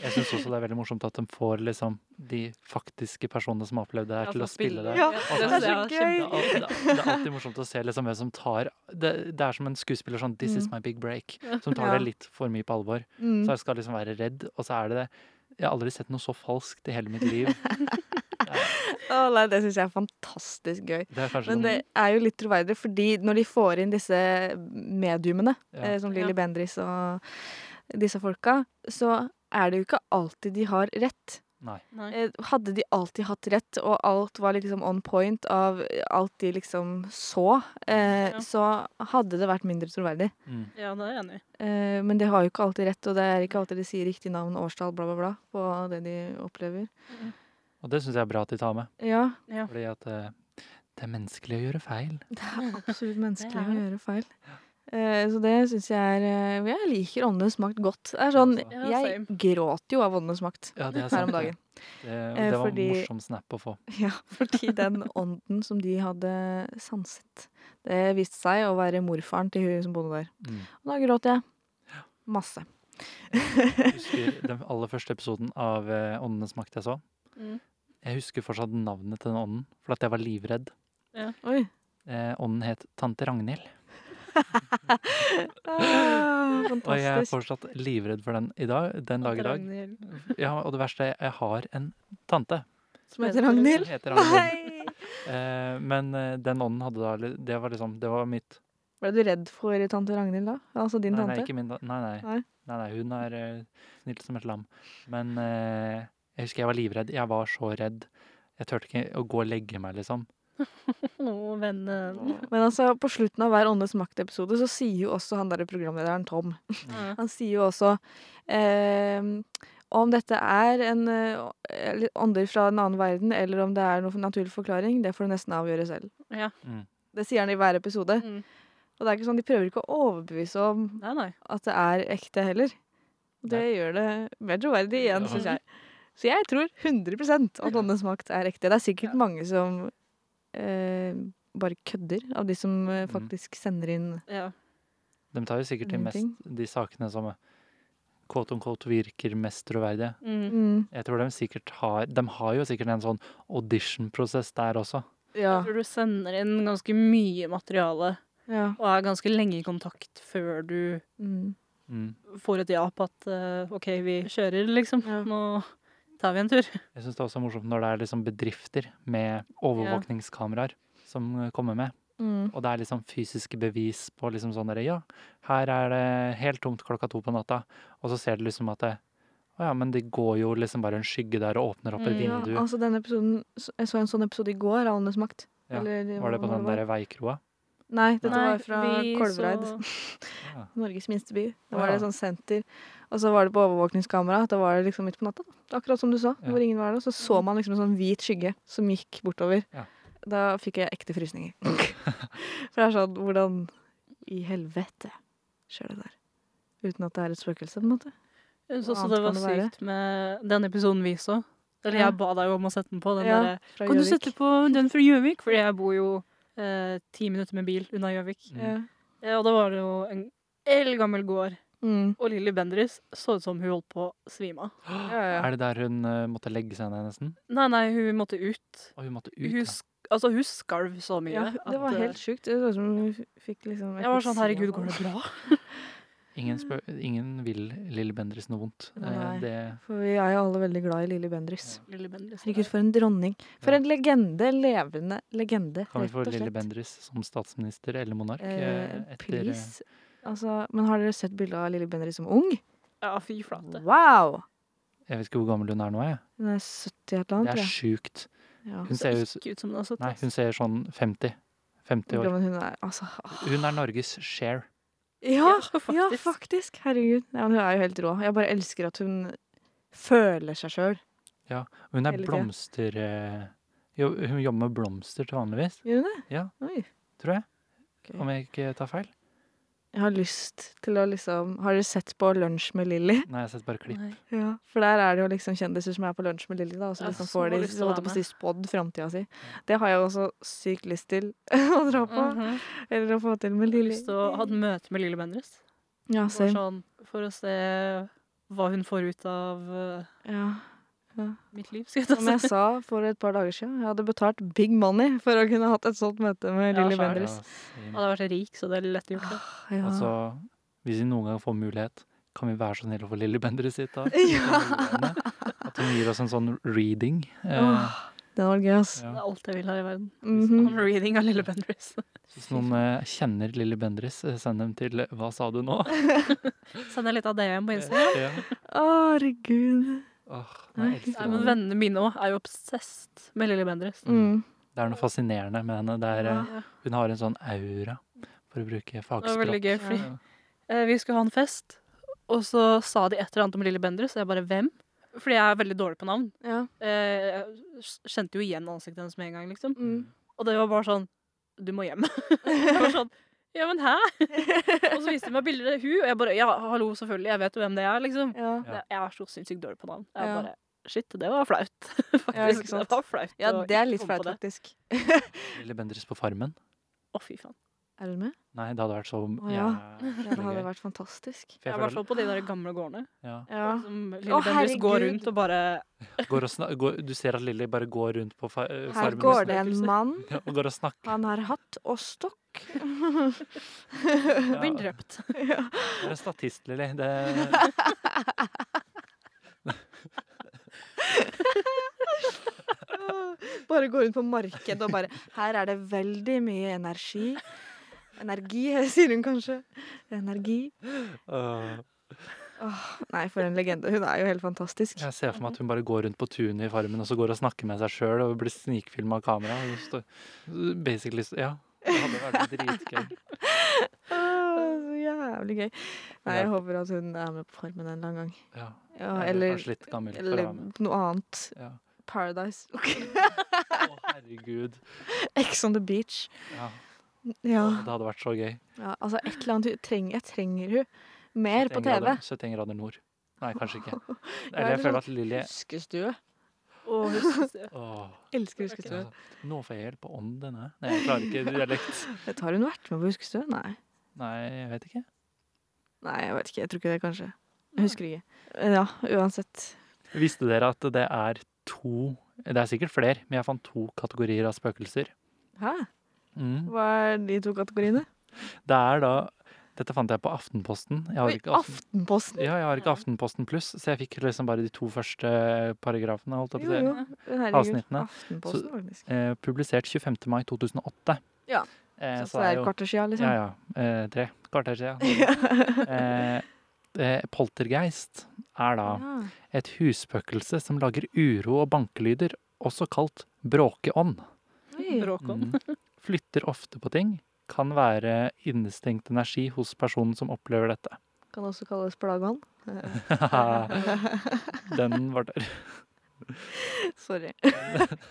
B: Jeg syns også det er veldig morsomt at de får liksom de faktiske personene som har opplevd det her, til å spille det.
A: Ja,
B: det
A: er så gøy.
B: Det er, alltid, det er alltid morsomt å se liksom hvem som tar det, det er som en skuespiller sånn 'This is my big break', som tar
A: Mm. Ja.
B: det litt for mye på alvor.
A: Mm.
B: Så jeg skal liksom være redd, og så er det det. Jeg har aldri sett noe så falskt i hele mitt liv.
A: Å, nei, det syns jeg er fantastisk gøy.
B: Det er kanskje
A: Men
B: noe
A: det er jo litt troverdig, fordi når de får inn disse mediumene,
B: Ja.
A: eh, som
C: Ja.
A: Lilly Bendriss og disse folka, så er det jo ikke alltid de har rett.
B: Nei.
C: Nei.
A: Eh, Hadde de alltid hatt rett, og alt var liksom on point av alt de liksom så, eh,
C: Ja.
A: så hadde det vært mindre troverdig.
B: mm.
C: Ja, det er jeg enig i.
A: Eh, men de har jo ikke alltid rett, og det er ikke alltid de sier riktig navn, årstall, bla, bla, bla, på det de opplever.
B: Og det syns jeg er bra at de tar med,
A: Ja,
B: fordi at eh, det er menneskelig å gjøre feil.
A: (laughs)
C: (laughs)
A: absolutt menneskelig å
C: er
A: gjøre feil. Eh, Så det syns jeg er eh, Jeg liker Åndenes makt godt. Det er sånn,
B: Ja,
C: altså. Ja,
A: jeg
C: same.
A: gråter jo av Åndenes makt
B: Ja, det er
A: her
B: sant.
A: om dagen.
B: Det, og
A: Eh,
B: det var
A: fordi-
B: en morsom snap å få.
A: (laughs) Ja, fordi den ånden som de hadde sanset, det viste seg å være morfaren til hun som bodde der.
B: Mm.
A: Og da gråt jeg. Masse.
B: Jeg husker den aller første episoden av eh, Åndenes makt jeg så.
C: Mm.
B: Jeg husker fortsatt navnet til den ånden, for at jeg var livredd.
A: Oi.
B: Eh, ånden het tante Ragnhild,
A: Ah,
B: og jeg er
A: fantastisk.
B: fortsatt livredd for den i dag, den dag i dag.
C: Ragnhild.
B: Ja, og det verste er jeg har en tante
A: Som heter Ragnhild.
B: som heter Ragnhild.
A: Nei!
B: Eh, men eh, den ånden hadde da li- Det var liksom Det var mitt
A: Ble du redd for tante Ragnhild da? Altså din
B: Nei, nei,
A: tante?
B: ikke min da- Nei, nei.
A: Nei.
B: nei, nei hun er eh, snill som et lam. Men eh, jeg husker jeg var livredd. Jeg var så redd. Jeg turte ikke å gå og legge meg, liksom.
C: Å, vennen.
A: Men altså, på slutten av hver Åndenes makt-episode så sier jo også han derre programlederen Tom
B: Mm.
C: Ja.
A: Han sier jo også eh, om dette er en eh, eller ånder fra en annen verden, eller om det er noen naturlig forklaring, det får du nesten avgjøre selv.
C: Ja.
B: Mm.
A: Det sier han i hver episode.
C: Mm.
A: Og det er ikke sånn, de prøver ikke å overbevise om
C: Nei, nei.
A: at det er ekte heller. Og Det gjør det mer troverdig igjen,
B: Ja.
A: syns jeg. Så jeg tror 100 at Åndenes makt er ekte. Det er sikkert mange som eh, bare kødder av de som eh,
B: Mm.
A: faktisk sender inn
C: Ja.
B: De tar jo sikkert de,
A: Ingenting.
B: mest, de sakene som eh, quote on quote virker mest troverdige.
C: Mm.
A: mm,
B: Jeg tror de sikkert har De har jo sikkert en sånn audition-prosess der også.
A: Ja.
C: Jeg tror du sender inn ganske mye materiale
A: ja.
C: og er ganske lenge i kontakt før du
A: Mm.
B: Mm.
C: får et ja på at eh, OK, vi kjører, liksom.
A: Ja.
C: Nå tar vi en tur.
B: Jeg syns det er også morsomt når det er liksom bedrifter med overvåkningskameraer som eh, kommer med.
A: Mm.
B: Og det er liksom fysiske bevis på liksom sånn derre Ja, her er det helt tomt klokka to på natta. Og så ser du liksom at det, Å ja, men det går jo liksom bare en skygge der og åpner opp et
C: Mm,
A: Ja,
B: vindu.
A: altså den episoden så- Jeg så en sånn episode i går av Åndenes makt.
B: Ja,
A: Eller,
B: Var det på sånn
A: hva
B: den derre veikroa?
A: Nei, dette
C: Nei,
A: var fra
C: vi
A: Kolvereid.
C: så-
B: Ja.
A: Norges minste by. Da
B: Å,
A: var det
B: ja.
A: et sånt senter. Og så var det på overvåkningskamera. Da var det liksom midt på natta. da. Akkurat som du sa.
B: Ja.
A: Hvor ingen var der. Så så man liksom en sånn hvit skygge som gikk bortover.
B: Ja.
A: Da fikk jeg ekte frysninger. (laughs) For det er sånn Hvordan i helvete skjer det der? Uten at det er et spøkelse, på en måte.
C: Jeg synes
A: Hva
C: også
A: annet
C: det var
A: kan det være?
C: sykt med den episoden vi så. Eller
A: Ja.
C: jeg ba deg jo om å sette den på. Den
A: Ja,
C: derre
A: Fra
C: Kan du
A: Gjøvik.
C: sette på den fra Gjøvik? Fordi jeg bor jo eh, ti minutter med bil unna Gjøvik.
B: Mm.
A: Ja.
C: Eh, og da var det jo en eldgammel gård.
A: Mm.
C: Og Lilly Bendriss så ut som hun holdt på å svime av.
A: ja, ja.
B: Er det der hun eh, måtte legge seg ned, nesten?
C: Nei, nei, hun måtte ut.
B: Og hun måtte ut.
C: Hun,
B: ja.
C: sk altså, hun skalv så mye.
A: ja, det var
C: at, eh,
A: helt sjukt. Det så ut som hun fikk liksom
C: Jeg var
A: epilepsi
C: sånn Herregud,
A: av
C: går det bra?
B: Ingen, spør, ingen vil Lille Bendriss noe vondt. Eh,
A: Nei.
B: Det,
A: For vi er jo alle veldig glad i Lilly Bendriss.
C: eh, Lilly Bendriss.
A: Herregud, for en dronning. For
B: Ja.
A: en legende. Levende legende,
B: kan vi
A: rett
B: få
A: og
B: Lille
A: slett.
B: Bendriss som statsminister eller monark?
A: Eh,
B: eh, etter, eh,
A: please. Altså, men har dere sett bildet av Lilly Bendriss som ung?
C: Ja, fy flate.
A: Wow!
B: Jeg vet ikke hvor gammel hun er nå, jeg.
A: Hun er 70 et eller
B: Det
A: annet.
B: er sjukt.
A: Ja.
B: Hun ser ut
C: Ikke ut som det har sett
B: Nei,
C: ut.
B: hun ser sånn 50. 50
A: Ja,
B: år.
A: men hun er altså ah.
B: Hun er Norges share.
A: ja,
C: Ja, faktisk.
A: ja, faktisk. Herregud. Ja, men hun er jo helt rå. Jeg bare elsker at hun føler seg sjøl.
B: Hun er
A: Hele tida.
B: blomster... eh, jo- Hun jobber med blomster til vanligvis,
A: Gjør hun det?
B: Ja.
A: Oi.
B: tror jeg.
A: Ok.
B: Om jeg ikke tar feil.
A: Jeg har lyst til å liksom Har dere sett på Lunsj med Lilly?
B: Nei, jeg har sett bare klipp.
C: Nei.
A: Ja, for der er det jo liksom kjendiser som er på lunsj med Lilly, da, og så
C: Jeg har
A: liksom
C: så
A: får de
C: lyst til å
A: holdt jeg
C: være
A: på å si spådd framtida si. Det har jeg jo også sykt lyst til (laughs) å dra på.
C: Mhm.
A: Eller å få til med
C: Jeg har
A: Lilly.
C: lyst til å ha et møte med Lille Bendriss.
A: Ja,
C: Bare
A: same.
C: Sånn, for å se hva hun får ut av eh,
A: Ja.
C: mitt liv, skal jeg
A: Som
C: ta
A: jeg
C: si.
A: sa for et par dager siden, jeg hadde betalt big money for å kunne hatt et sånt møte med
C: Ja,
A: Lilly
C: skjønner.
A: Bendriss.
B: same.
C: Hadde jeg vært rik, så det er lett gjort. det.
A: Ja.
B: Altså, hvis vi noen gang får mulighet, kan vi være så snille å få Lilly Bendriss hit,
A: (laughs)
B: da?
A: Ja.
B: At hun gir oss en sånn reading. Eh,
A: Åh, det var gøy, ass.
C: Det
B: ja.
C: er alt jeg vil her i verden.
A: Mhm.
C: I'm reading av Lille Bendriss.
B: Hvis noen eh, kjenner Lilly Bendriss, eh, send dem til eh, Hva sa du nå?
A: (laughs)
C: Sender litt av det hjem på Instagram.
B: Ja.
A: Å, Herregud.
B: Åh, nei, jeg elsker
C: Nei, men
B: henne.
C: Vennene mine òg er jo obsessed med Lille Bendriss.
A: Mm.
B: Det er noe fascinerende med henne. Det er, eh,
C: Ja.
B: hun har en sånn aura, for å bruke
C: Det var veldig
B: fagspråk.
C: gøy, fordi eh, vi skulle ha en fest, og så sa de et eller annet om Lille Bendriss, og jeg bare 'hvem?' Fordi jeg er veldig dårlig på navn.
A: Ja.
C: Eh, jeg kjente jo igjen ansiktet hennes med en gang, liksom.
A: Mm.
C: Og det var bare sånn Du må hjem. (laughs) jeg var sånn Ja, men hæ? og så viste de meg bilder av hun, og jeg bare Ja, hallo, selvfølgelig, jeg vet jo hvem det er, liksom.
A: (laughs) Ja.
B: Ja.
C: Jeg er så sinnssykt dårlig på navn. Jeg
A: Ja.
C: bare Shit, det var flaut. (laughs) Faktisk.
A: Ja, ikke sant?
C: Det var flaut.
A: ja,
C: å
A: det er
C: ikke
A: litt
C: komme på
A: flaut,
C: det.
A: faktisk.
B: Lilly Bendriss på Farmen.
C: Å, fy faen.
A: Er du med?
B: Nei, det hadde vært så
A: Å, ja. (laughs)
B: jævlig
A: Ja, det hadde
B: gøy.
A: vært fantastisk.
B: For
C: Jeg
B: jeg
C: var
B: føler,
C: så på de der gamle gårdene.
B: ja.
A: Ja.
C: Som Lille Bendriss går
A: herregud.
C: rundt og bare
B: går og snak, går, du ser at Lilly bare går rundt på fa eh,
A: Her
B: farmen og
A: går det en
C: Farmen-
A: mann.
B: (laughs) snak- og går og snakker.
A: Han har hatt og (laughs) stokk.
C: blir
B: Ja,
C: drept. (laughs)
B: du er en statist, Lilly. Det,
A: (laughs) Bare går rundt på markedet og bare Her er det veldig mye energi. Energi, (laughs) sier hun kanskje. Energi.
B: Åh,
A: Nei, for en legende. Hun er jo helt fantastisk.
B: jeg ser for meg at hun bare går rundt på tunet i Farmen og så går og snakker med seg sjøl og blir snikfilma av kamera. Og står, basically, så- ja. Det hadde vært dritgøy.
A: Åh, Så jævlig gøy. Nei, jeg håper at hun er med på Farmen en eller annen gang.
B: Ja.
A: Ja,
B: Jeg er
A: eller,
B: kanskje litt gammel for å
A: eller
B: være med.
A: noe annet. (laughs)
B: Ja.
A: Paradise.
B: Å, herregud.
A: Ex on the beach.
B: Ja.
A: Ja.
B: Åh, Det hadde vært så gøy.
A: ja altså, et eller annet hun trenger Jeg trenger hun mer på
B: 71
A: TV.
B: grader- 71 grader nord. Nei,
A: (laughs)
B: kanskje ikke.
A: er
B: Eller jeg
A: det
B: føler at Lilly
A: Huskestue.
C: Og huskestue.
B: Åh,
A: Elsker
C: Ok.
A: huskestue.
B: altså, Nå får jeg hjelp på ånden her. Nei, jeg klarer ikke dialekt.
A: Vet, har hun vært med på Huskestue? Nei.
B: Nei, jeg vet ikke.
A: Nei, jeg vet ikke. Jeg tror ikke det, kanskje. Jeg husker ikke. Ja, uansett.
B: Visste dere at det er to Det er sikkert flere, men jeg fant to kategorier av spøkelser.
A: Hæ?
B: Mm.
A: Hva er de to kategoriene?
B: Det er da Dette fant jeg på Aftenposten. Jeg har
A: Oi,
B: ikke Aften,
A: Aftenposten!
B: ja, jeg har ikke Aftenposten pluss, så jeg fikk liksom bare de to første eh, paragrafene. Holdt jeg på
A: Jo,
B: å si.
A: jo. Herregud.
B: Avsnittene.
A: Aftenposten, faktisk.
B: Eh, publisert 25. mai 2008.
A: Ja.
B: Eh,
A: Så,
B: så
A: det
B: er
A: er
B: jo
A: et kvarter siden, liksom.
B: Ja, ja. Eh, tre kvarter siden.
A: (laughs) Ja.
B: Eh, eh, poltergeist er da et husspøkelse som lager uro og bankelyder, også kalt bråkeånd.
A: Oi.
C: Bråkånd.
B: Mm. Flytter ofte på ting. Kan være innestengt energi hos personen som opplever dette. (laughs)
A: Kan også kalles plagan.
B: Den var der.
A: (laughs) Sorry. (laughs)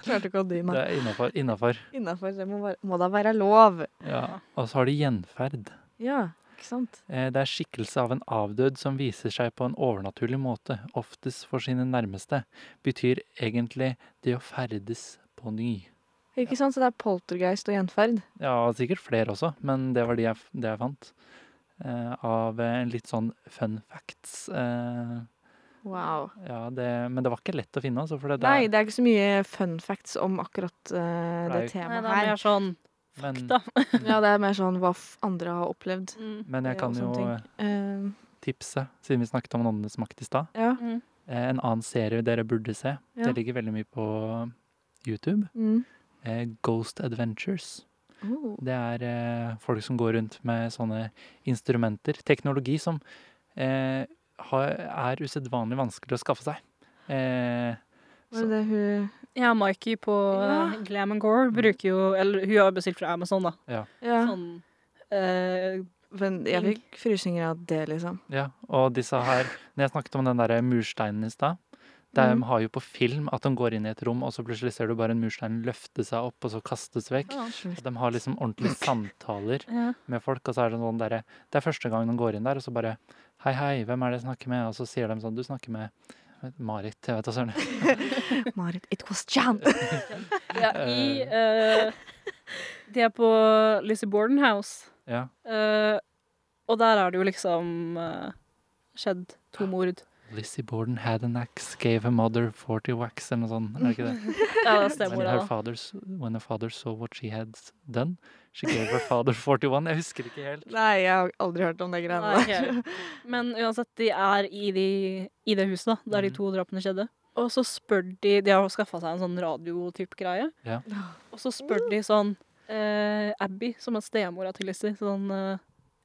A: Klarte ikke å dy
B: Det
A: meg.
B: er eh, innafor. Innafor.
A: Innafor. Det må, være, må da være lov.
B: Ja. Og så har de gjenferd.
A: Ja, ikke sant?
B: Eh, Det er skikkelse av en avdød som viser seg på en overnaturlig måte, oftest for sine nærmeste. Betyr egentlig det å ferdes på ny.
A: Ikke sant? Så det er poltergeist og gjenferd.
B: Ja, sikkert flere også, men det var de jeg, f- det jeg fant. Eh, av eh, litt sånn fun facts. Eh,
A: Wow.
B: ja, det, men det var ikke lett å finne, altså. For det
A: Nei,
B: der,
A: det er ikke så mye fun facts om akkurat eh, det
B: Nei.
C: Nei,
A: temaet
C: det er
A: her.
C: mer sånn
B: men,
C: da.
A: (laughs) Ja, det er mer sånn hva f andre har opplevd.
C: Mm.
B: men jeg
A: eh,
B: kan
A: og
B: jo
A: sånne ting. Eh,
B: tipse, siden vi snakket om Åndenes makt i stad.
A: ja.
B: Eh, en annen serie dere burde se.
A: Ja.
B: Det ligger veldig mye på YouTube.
A: Mm.
B: Eh, Ghost Adventures.
A: Oh.
B: Det er eh, folk som går rundt med sånne instrumenter. Teknologi som eh, har, er usedvanlig vanskelig å skaffe seg. Eh,
A: Var det det hun
C: Ja, Mikey på
A: Ja.
C: eh, Glam and Gore bruker jo Eller hun har jo bestilt fra Amazon, da.
A: Ja.
C: Sånn eh,
A: Men jeg fikk frysninger av det, liksom.
B: ja, og disse her Når jeg snakket om den der mursteinen i stad, De
A: Mm.
B: har jo på film at de går inn i et rom, og så plutselig ser du bare en murstein løfte seg opp, og så kastes vekk. Og de har liksom ordentlige samtaler
C: Ja.
B: med folk, og så er det sånn derre Det er første gang de går inn der, og så bare Hei, hei, hvem er det jeg snakker med? Og så sier de sånn Du snakker med Marit, jeg vet da søren. (laughs)
A: Marit, it was (laughs) Jan!
C: Ja, i (laughs) eh, De er på Lizzie Borden House,
B: Ja.
C: eh, og der er det jo liksom eh, skjedd to mord.
B: Lizzie Borden had an axe, gave her mother 40 wax, eller noe sånt. Er det ikke det?
C: Ja, det
B: When
C: stemmer.
B: her,
C: Da.
B: fathers, when her father saw what she had done, she gave her father 41. Jeg husker ikke helt.
A: Nei, jeg har aldri hørt om de greiene
C: Nei,
A: der. (laughs)
C: ok. Men uansett, de er i, de, i det huset da, der de
B: Mhm.
C: to drapene skjedde. Og så spør de De har skaffa seg en sånn radiotype greie.
B: Ja.
C: Og så spør de sånn eh, Abby, som er stemora til Lizzie, sånn eh,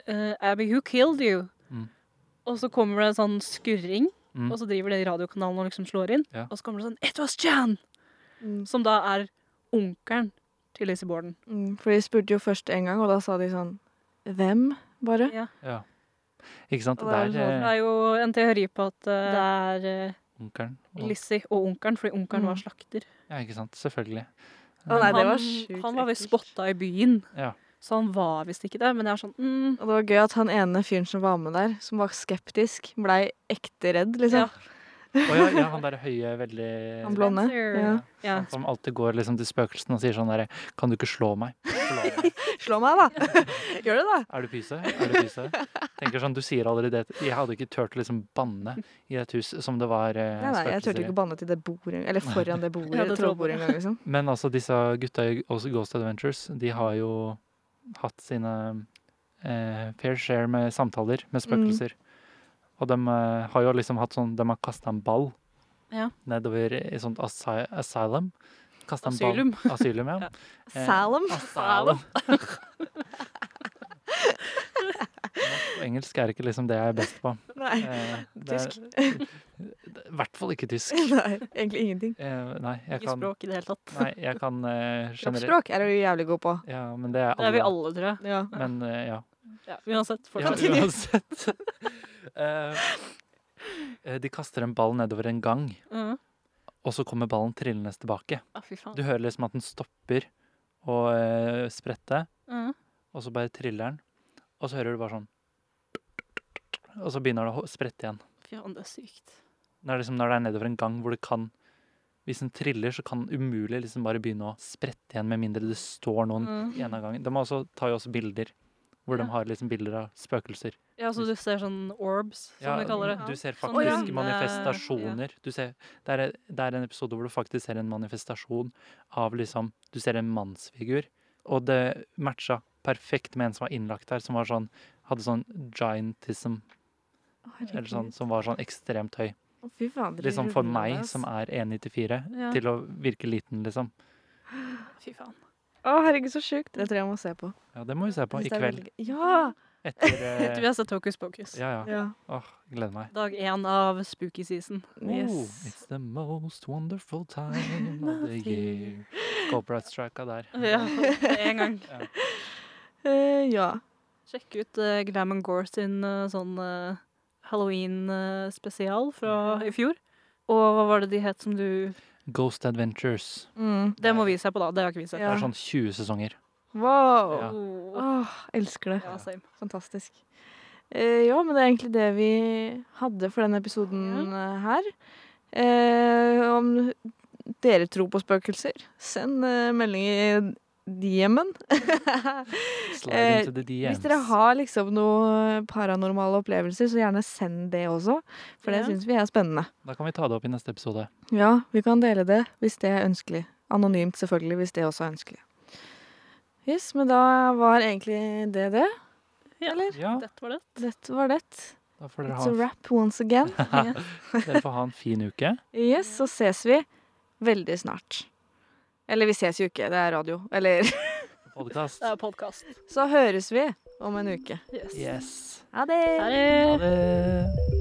C: eh, Abby, who killed you?
B: Mhm.
C: Og så kommer det en sånn skurring,
B: Mm.
C: og så driver det i radiokanalen og liksom slår inn.
B: Ja.
C: Og så kommer det sånn It was Jan!
A: Mm.
C: Som da er onkelen til Lizzie Borden.
A: Mm, For de spurte jo først en gang, og da sa de sånn Hvem, bare?
C: Ja.
B: Ja. Ikke sant?
A: Og det er
B: Det
A: jo
C: Det
B: er eh,
C: er jo en teori på at eh, det er eh,
B: onkelen. og-
C: Lizzie og onkelen, fordi
A: Mhm.
C: onkelen
B: Mm.
C: var slakter.
B: Ja, ikke sant? Selvfølgelig.
A: Å nei, det var
C: han,
A: sjukt
C: han var visst
A: ekkelt.
C: spotta i byen,
B: Ja.
C: så han var visst ikke det. Men jeg er sånn mm,
A: Og det var gøy at han ene fyren som var med der, som var skeptisk, blei ekte redd,
C: ja.
A: liksom.
B: Å ja, ja, han derre høye, veldig
A: Han blonde.
C: Spencer.
A: Ja.
C: ja.
B: Han som alltid går liksom til spøkelsen og sier sånn derre Kan du ikke slå meg? Slå meg.
A: Slå meg, da! (laughs) Gjør det, da!
B: Er du pyse? Er du pyse? Tenker sånn, du sier allerede det. Jeg hadde ikke turt å liksom banne i et hus som det var eh,
A: Nei, nei, jeg turte
B: spøkelser
A: ikke
B: i.
A: å banne til det bordet, eller foran det bordet,
C: Ja, det
A: trollbordet engang, liksom.
B: Men altså, disse gutta i Ghost Ghost Adventures, de har jo hatt sine eh, fair share med samtaler med
A: Mm.
B: spøkelser. Og de eh, har jo liksom hatt sånn De har kasta en ball
C: Ja.
B: nedover i sånt asy asylum. Kastet en
C: Asylum.
A: (laughs)
B: Ball. Asylum, ja.
C: Ja.
B: Eh,
A: Salem.
C: (laughs)
B: Asylum. Norsk og engelsk er ikke liksom det jeg er best på.
A: Nei.
B: Eh, det
C: (laughs)
B: er-
A: Tysk. (laughs)
B: I hvert fall ikke tysk.
A: Nei, egentlig ingenting.
B: Eh, nei, jeg
C: Ikke
B: kan,
C: språk i det hele tatt.
B: (laughs) nei, jeg kan eh, generelt
A: Kroppsspråk er du jævlig god på.
B: Ja, men det er
C: Det er vi
B: alle.
C: alle, tror jeg.
A: Ja.
B: Men eh, ja.
C: Ja, uansett,
B: ja
C: fortsatt. (laughs)
B: uansett. (laughs) Eh, eh, de kaster en ball nedover en gang,
C: Ja.
B: og så kommer ballen trillende tilbake.
C: Ah, fy faen.
B: Du hører liksom at den stopper å eh, sprette,
C: Ja.
B: og så bare triller den. Og så hører du bare sånn Og så begynner det å ho- sprette igjen.
C: Fy faen, det er sykt.
B: Det er liksom når det er nedover en gang hvor det kan Hvis den triller, så kan den umulig liksom bare begynne å sprette igjen, med mindre det står noen
C: Mm.
B: i en av gangen. De har også, tar jo også bilder hvor de
C: Ja.
B: har liksom bilder av spøkelser.
C: Ja, så du ser sånn orbs, som
B: Ja,
C: vi kaller det.
B: Du ser
C: Sånn
B: faktisk
A: runde-
B: manifestasjoner. Du ser, det, er, det er en episode hvor du faktisk ser en manifestasjon av liksom Du ser en mannsfigur, og det matcha perfekt med en som var innlagt der, som var sånn hadde sånn giantism, eller sånn, som var sånn ekstremt høy.
A: Å, Fy faen, dere
B: Liksom for
A: ruller
B: meg,
A: meg, ass.
B: som er 1,94,
C: Ja.
B: til å virke liten, liksom.
C: Ah, Fy faen.
A: Å, herregud, så sjukt. Det tror jeg jeg må se på.
B: Ja, det må vi se på i
A: Jeg synes det er
B: kveld.
A: veldig gøy. Ja!
C: (laughs)
B: Etter
C: Du, vi
B: eh,
C: har sett Hocus Pocus.
B: Ja, ja.
A: ja.
B: Åh, gleder meg.
C: Dag én av spooky season.
B: Oh,
A: Yes.
B: it's the most wonderful time of the
C: (laughs)
B: year. Copyright-strika der.
C: Ja, en gang.
A: Eh, ja.
C: Sjekk ut eh, Glam and Gore sin eh, sånn Halloween-spesial fra i fjor. Og hva var det de het som du
B: Ghost Adventures.
A: Mm.
C: Det må vi se på, da. Det har ikke vi sett.
A: Ja.
B: Det er sånn 20 sesonger.
A: Wow!
B: Ja.
C: Oh.
A: Åh, elsker det.
C: Ja, same.
A: Fantastisk. Eh, ja, men det er egentlig det vi hadde for denne episoden eh, her. Eh, om dere tror på spøkelser, send eh, melding i DM-en.
B: Slide
A: Eh,
B: into the DMs.
A: Hvis dere har liksom noen paranormale opplevelser, så gjerne send det også. For det
C: Ja.
A: syns vi er spennende.
B: Da kan vi ta det opp i neste episode.
A: Ja, vi kan dele det hvis det er ønskelig. Anonymt selvfølgelig, hvis det også er ønskelig. Yes, men da var egentlig det det.
C: Ja.
A: Eller?
B: Ja,
C: Dette var det.
A: Dette var det.
B: da får dere
A: It's a
B: ha,
A: wrap once again.
B: dere får ha en fin uke.
A: (laughs) Yes, så ses vi veldig snart. Eller vi ses jo ikke, det er radio. Eller (laughs)
B: Podcast.
C: Det er podkast.
A: så høres vi om en uke.
C: Yes.
B: Yes.
A: Ha det!
C: Ha
B: Ha
C: det.
B: det.